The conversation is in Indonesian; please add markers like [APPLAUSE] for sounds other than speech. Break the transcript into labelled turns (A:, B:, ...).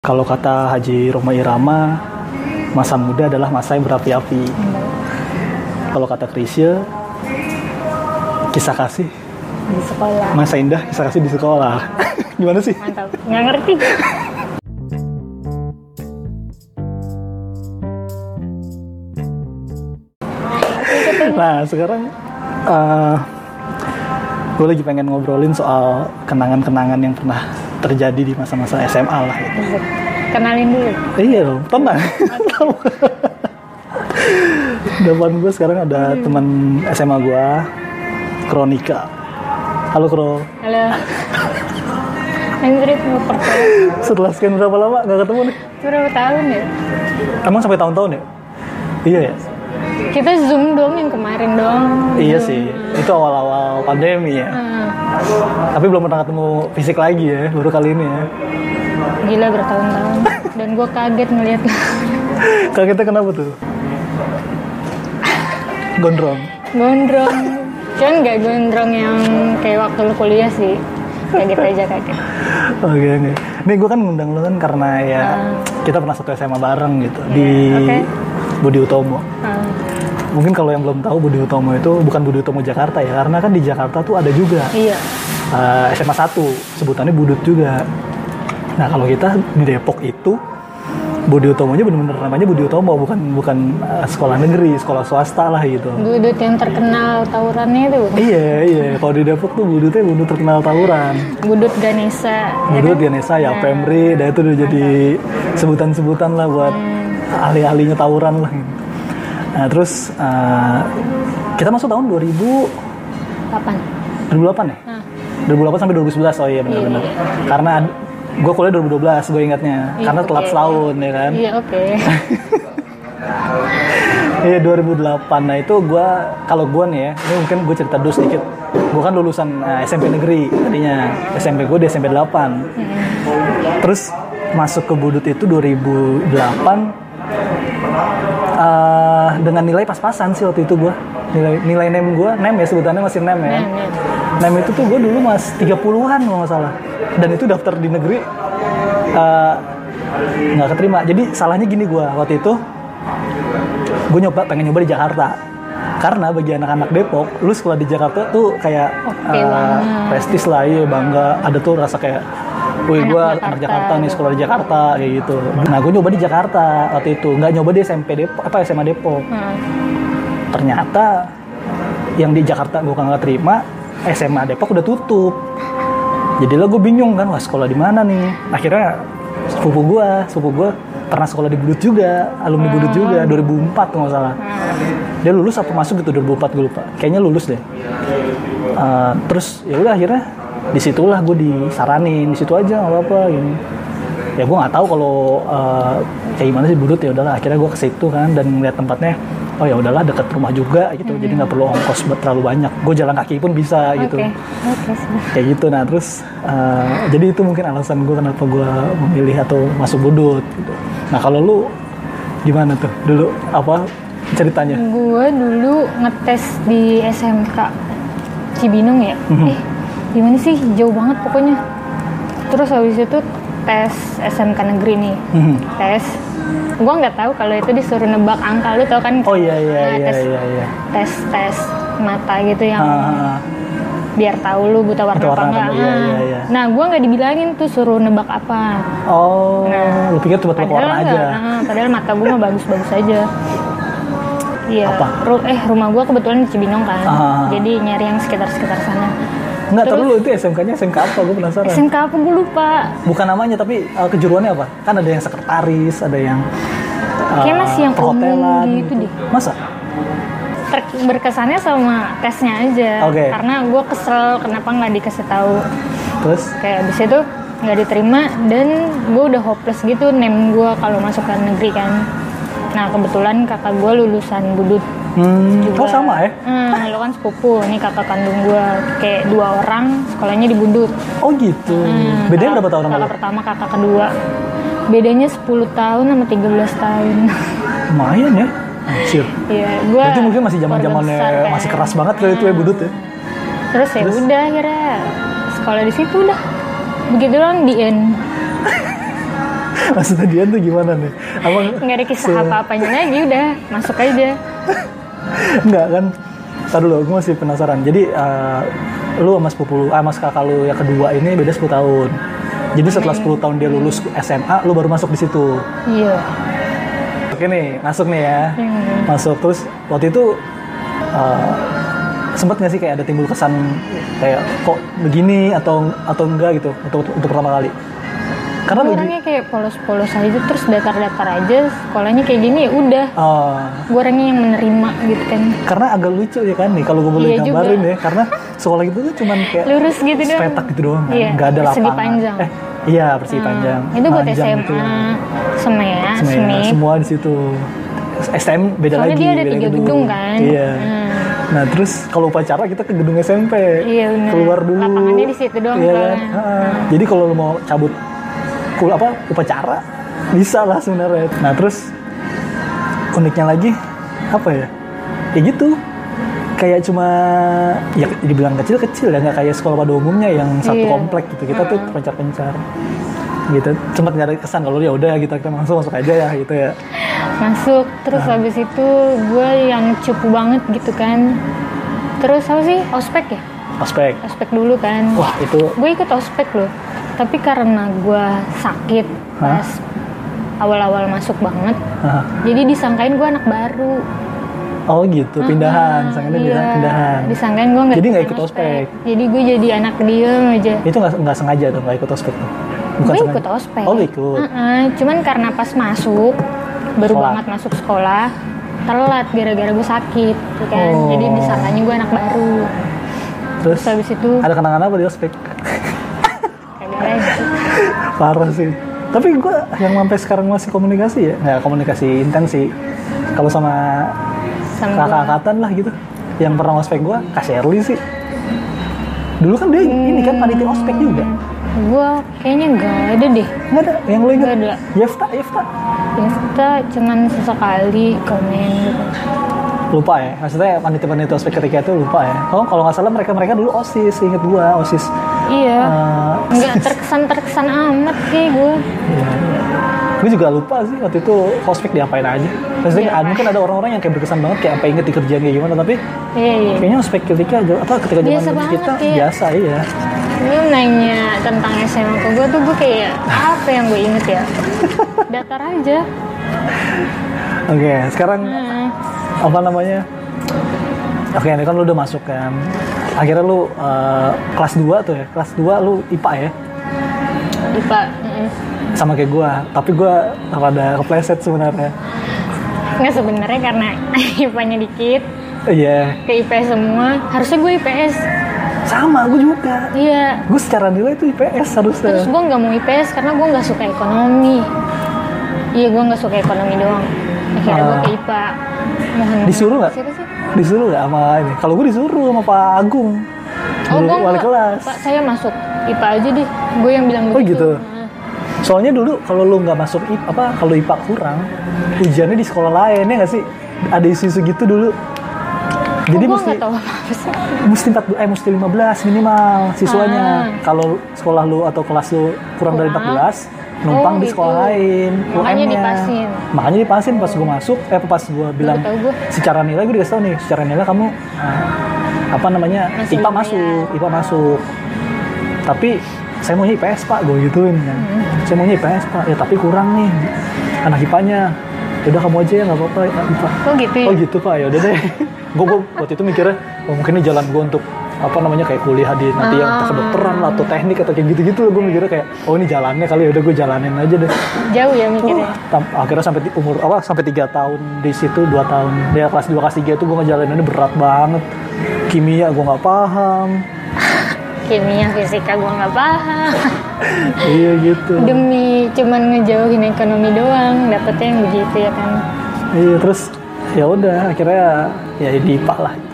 A: kalau kata Haji Roma Irama, masa muda adalah masa yang berapi-api. Kalau kata Krisya, kisah kasih,
B: di sekolah.
A: masa indah, kisah kasih di sekolah. [LAUGHS] Gimana sih?
B: Mantap. Nggak ngerti.
A: Nah, sekarang eh gue lagi pengen ngobrolin soal kenangan-kenangan yang pernah terjadi di masa-masa SMA lah.
B: Kenalin dulu.
A: Iya dong, tenang. Tahu. [LAUGHS] Depan gue sekarang ada teman SMA gue, Kronika. Halo Kro,
B: Halo. Android mau percaya.
A: setelah sekian berapa lama nggak ketemu nih?
B: Berapa tahun ya?
A: Emang sampai tahun-tahun ya? Iya ya?
B: Kita zoom doang yang kemarin doang.
A: Iya sih, itu awal-awal pandemi ya.
B: Nah,
A: Tapi belum pernah ketemu fisik lagi ya, baru kali ini ya. [LAUGHS]
B: gila bertahun-tahun. Dan gue kaget ngeliat.
A: Kalau kita kenapa tuh? Gondrong.
B: gondrong. Cuman nggak gondrong yang kayak waktu lu kuliah sih. Kaget aja kaget.
A: Oke, oke. Nih gue kan ngundang lo kan karena ya kita pernah satu SMA bareng gitu di
B: oke.
A: Budi Utomo.
B: Ah,
A: Mungkin kalau yang belum tahu Budi Utomo itu bukan Budi Utomo Jakarta ya, karena kan di Jakarta tuh ada juga
B: iya.
A: eh, SMA 1, sebutannya Budut juga. Nah, kalau kita di Depok itu Budi Utomonya bener-bener namanya Budi Utomo, bukan bukan eh, sekolah negeri, sekolah swasta lah gitu.
B: Dudut yang terkenal tawurannya itu.
A: Iya, iya. Kalau di Depok tuh Budutnya Budut terkenal tawuran.
B: Budut Ganesha. ya
A: Menurut
B: kan?
A: Ganesha ya Pemri, dan itu udah jadi sebutan-sebutan lah buat ahli-ahlinya tawuran lah. gitu. Nah terus eh, kita masuk tahun 2000,
B: Kapan? Ah,
A: 2008 ya? 2008 sampai 2011, oh iya benar-benar. Karena gue kuliah 2012 gue ingatnya,
B: Iya,
A: karena telat
B: oke.
A: setahun ya kan.
B: Iya oke.
A: Iya 2008, nah itu gue, kalau gue nih ya, ini mungkin gue cerita dulu sedikit. Gue kan lulusan eh, SMP negeri tadinya, SMP gue di SMP 8.
B: Hmm.
A: Terus masuk ke Budut itu 2008 eh, dengan nilai pas-pasan sih waktu itu gua. Nilai nilai nem gua, nem ya sebutannya masih nem ya.
B: Nem, nem.
A: Nem itu tuh gua dulu mas 30-an kalau nggak salah. Dan itu daftar di negeri eh, nggak keterima. Jadi salahnya gini gua waktu itu gue nyoba pengen nyoba di Jakarta karena bagi anak-anak Depok lu sekolah di Jakarta tuh kayak
B: Oke
A: eh,
B: banget.
A: prestis lah iya bangga ada tuh rasa kayak wih
B: Anak
A: gue
B: Jakarta,
A: anak Jakarta nih sekolah di Jakarta kayak gitu nah gue nyoba di Jakarta waktu itu nggak nyoba di SMP Depok apa SMA Depok
B: Nah,
A: ternyata yang di Jakarta gue nggak terima SMA Depok udah tutup jadi lo gue bingung kan wah sekolah di mana nih akhirnya sepupu gue sepupu gue pernah sekolah di Budut juga alumni Budut juga 2004 kalau nggak salah dia lulus apa masuk gitu 2004 gue lupa kayaknya lulus deh Eh, terus ya udah akhirnya disitulah gue disaranin di situ aja nggak apa-apa gini ya gue nggak tahu kalau eh, kayak gimana sih budut ya udahlah akhirnya gue ke situ kan dan ngeliat tempatnya oh ya udahlah deket rumah juga gitu jadi nggak perlu ongkos buat terlalu banyak gue jalan kaki pun bisa gitu
B: Oke. Oke. sudah.
A: kayak gitu nah terus eh, jadi itu mungkin alasan gue kenapa gue memilih atau masuk budut gitu nah kalau lu gimana tuh dulu apa ceritanya
B: Gue dulu ngetes di SMK Cibinong ya.
A: Mhm.
B: Eh, gimana sih? Jauh banget pokoknya. Terus habis itu tes SMK negeri nih.
A: Mhm.
B: Tes. Gue nggak tahu kalau itu disuruh nebak angka lu tau kan?
A: oh iya iya
B: Nah,
A: iya
B: tes,
A: iya iya
B: tes tes mata gitu yang
A: Ah,
B: biar tahu lu buta warna
A: Buta
B: apa
A: warna
B: enggak.
A: apa, iya, iya, iya.
B: Nah, gue nggak dibilangin tuh suruh nebak apa.
A: Oh,
B: Nah,
A: lu pikir cuma tebak warna aja?
B: enggak, ah, padahal mata gue mah bagus-bagus aja. Iya.
A: Apa?
B: Ru- eh rumah gue kebetulan di Cibinong kan.
A: Ah.
B: Jadi nyari yang sekitar-sekitar sana.
A: Enggak, tahu lu itu SMK-nya SMK apa? Gue penasaran.
B: SMK apa gue lupa.
A: Bukan namanya, tapi uh, kejuruannya apa? Kan ada yang sekretaris, ada yang uh,
B: Kayak masih yang umum
A: perhotelan.
B: gitu deh.
A: Masa?
B: Ter- berkesannya sama tesnya aja.
A: Oke.
B: Karena gue kesel kenapa nggak dikasih tahu.
A: Terus?
B: Kayak abis itu nggak diterima dan gue udah hopeless gitu name gue kalau masuk ke negeri kan. Nah kebetulan kakak gue lulusan budut
A: Hmm, oh
B: juga.
A: sama ya?
B: Hmm, lo kan sepupu, ini kakak kandung gue. Kayak dua orang, sekolahnya di Budut.
A: Oh gitu.
B: Hmm,
A: Bedanya
B: kakak-
A: berapa tahun sama
B: Kakak
A: lu?
B: pertama, kakak kedua. Bedanya 10 tahun sama 13 tahun. [LAUGHS]
A: Lumayan ya? Anjir.
B: Iya, gue...
A: Berarti mungkin masih zaman zamannya masih keras banget kali itu ya budut ya?
B: kan. Hmm.
A: [LAUGHS]
B: Terus ya udah akhirnya sekolah di situ udah. Begitu doang di end.
A: maksudnya dia tuh gimana nih abang
B: nggak ada kisah
A: se-
B: apa-apanya lagi udah masuk aja
A: Enggak kan? Tadi dulu, gue masih penasaran. Jadi eh, lu sama sepupu lu, ah, mas kakak lu yang kedua ini beda 10 tahun. Jadi setelah 10 tahun dia lulus SMA, lu baru masuk di situ.
B: iya
A: Oke nih, masuk nih ya.
B: Hmm.
A: Masuk terus waktu itu eh, sempet nggak sih kayak ada timbul kesan kayak kok begini atau atau enggak gitu untuk untuk pertama kali. Karena lu di-
B: orangnya kayak polos-polos aja terus datar-datar aja sekolahnya kayak gini ya udah
A: eh,
B: gue orangnya yang menerima gitu kan
A: karena agak lucu ya kan nih kalau gue boleh
B: Iya juga.
A: gambarin ya karena sekolah itu tuh cuman kayak
B: lurus gitu doang
A: sepetak gitu doang kan,
B: Iya,
A: nggak ada
B: persegi
A: lapangan.
B: panjang. Hmm.
A: Eh, iya persegi panjang.
B: Nah, itu buat
A: Panjang
B: SMA
A: gitu.
B: ya,
A: ya,
B: semea
A: Semua,
B: semip
A: semua di situ. STM beda
B: soalnya
A: lagi.
B: dia ada
A: beda
B: tiga gedung kan
A: Iya.
B: Hmm.
A: Nah terus kalau upacara kita ke gedung SMP.
B: Iya, benar.
A: Keluar dulu.
B: Lapangannya di situ doang
A: Iya
B: soalnya.
A: kan? Ha-ha. Jadi kalau lu mau cabut kul apa upacara bisa lah sebenarnya. Nah terus uniknya lagi apa ya? Ya gitu kayak cuma ya dibilang kecil-kecil ya nggak kayak sekolah pada umumnya yang satu
B: Iya.
A: komplek gitu kita tuh pencar-pencar gitu sempat nggak ada kesan kalau ya udah kita kita langsung masuk aja ya gitu ya
B: Nah, masuk terus
A: Nah.
B: habis itu gue yang cupu banget gitu kan terus apa sih ospek ya
A: aspek
B: ospek dulu kan
A: wah itu
B: gue ikut ospek loh tapi karena gue sakit
A: Hah?
B: pas awal-awal masuk banget
A: Hah.
B: jadi disangkain gue anak baru
A: oh gitu pindahan sangatnya
B: Iya,
A: pindahan
B: disangkain gue nggak
A: Jadi nggak
B: ikutan
A: ikut ospek.
B: jadi gue jadi anak diem aja
A: itu nggak nggak sengaja tuh nggak ikut ospek tuh
B: gue
A: sengaja.
B: ikut ospek
A: oh lu ikut
B: Heeh, cuman karena pas masuk baru
A: Telat.
B: banget masuk sekolah telat gara-gara gue sakit gitu kan
A: Oh.
B: jadi disangkanya gue anak baru
A: terus
B: terus habis itu
A: ada kenangan apa di ospek [LAUGHS]
B: kagak ada.
A: parah sih tapi gue yang sampai sekarang masih komunikasi ya nggak komunikasi intens sih kalau sama
B: sama gue
A: kakak angkatan lah gitu yang pernah ospek gue kak Shirley sih dulu kan dia ini
B: Hmm.
A: kan panitia ospek juga
B: gue kayaknya nggak ada deh
A: nggak ada yang lo inget
B: Nggak ada.
A: Yefta Yefta
B: Insta cuman sesekali komen gitu
A: lupa ya maksudnya panitia panitia ospek ketika itu lupa ya kalau kalau nggak salah mereka mereka dulu osis inget gue osis
B: iya
A: Eh,
B: nggak terkesan terkesan amat sih gue
A: gue juga lupa sih waktu itu ospek diapain aja maksudnya
B: Iya.
A: mungkin ada orang-orang yang kayak berkesan banget kayak apa inget di kerjaan kayak gimana tapi
B: iya iya
A: kayaknya ospek ketika apa ketika zaman
B: Biasa
A: dulu
B: banget,
A: kita
B: iya.
A: biasa iya
B: lu nanya tentang SMA ke gue tuh gue kayak apa yang gue inget
A: [LAUGHS]
B: ya datar aja
A: oke sekarang
B: Heeh.
A: apa namanya oke ini kan lu udah masuk kan akhirnya lu eh, kelas 2 tuh ya kelas 2 lu IPA ya
B: IPA heeh.
A: sama kayak gua tapi gua rada kepleset sebenarnya
B: nggak Ya, sebenarnya karena [LAUGHS] IPA-nya dikit
A: iya
B: ke IPS semua harusnya gue IPS
A: sama gua juga
B: iya
A: gua secara nilai tuh IPS
B: terus
A: harusnya
B: gue nggak mau IPS karena gue nggak suka ekonomi iya gue nggak suka ekonomi doang akhirnya gue
A: Ah.
B: ke IPA mohon
A: Disuruh nggak?
B: Siapa sih?
A: disuruh nggak sama ini kalau gua disuruh sama Pak Agung
B: Oh,
A: dulu
B: gue
A: wali
B: nggak.
A: kelas
B: Pak, saya masuk IPA aja deh. Gue yang bilang
A: Oh,
B: begitu.
A: gitu.
B: Nah,
A: soalnya dulu kalau lu nggak masuk IPA apa kalau IPA kurang ujiannya di sekolah lain ya nggak sih ada isu-isu gitu dulu jadi
B: gue
A: mesti
B: Oh, nggak tahu apa-apa sih.
A: mesti 14 eh mesti 15 minimal siswanya. Kalau sekolah lu atau kelas lu kurang dari
B: Ah. Kurang.
A: 14, numpang
B: Oh,
A: di
B: gitu.
A: sekolah lain.
B: Makanya
A: UM-nya.
B: dipasin.
A: Makanya dipasin pas gua masuk, eh pas gua bilang
B: tahu gua.
A: secara nilai gua dikasih tau nih, secara nilai kamu eh, apa namanya?
B: Masih
A: IPA
B: lumayan.
A: masuk, IPA masuk. Tapi saya maunya IPS, Pak, gua gituin kan.
B: Hmm.
A: Saya maunya IPS, Pak. Ya tapi kurang nih anak IPA-nya. Udah kamu aja ya nggak apa-apa IPA.
B: Oh gitu ya.
A: Oh gitu pak, ya udah deh. [LAUGHS] gue waktu itu mikirnya, oh, mungkin ini jalan gue untuk apa namanya kayak kuliah di nanti yang entah kedokteran lah atau teknik atau kayak gitu-gitu gue mikirnya kayak oh ini jalannya kali ya udah gue jalanin aja deh
B: Jauh ya
A: Oh,
B: mikirnya.
A: tam- akhirnya sampai di- umur apa sampai tiga tahun di situ dua tahun ya kelas 2 kelas 3 itu gue ngejalaninnya berat banget kimia gue nggak paham
B: Kimia, fisika gue nggak paham. [LAUGHS]
A: iya gitu
B: Demi cuman ngejauhin ekonomi doang, dapetnya yang begitu ya kan.
A: iya terus ya udah akhirnya ya di IPA lah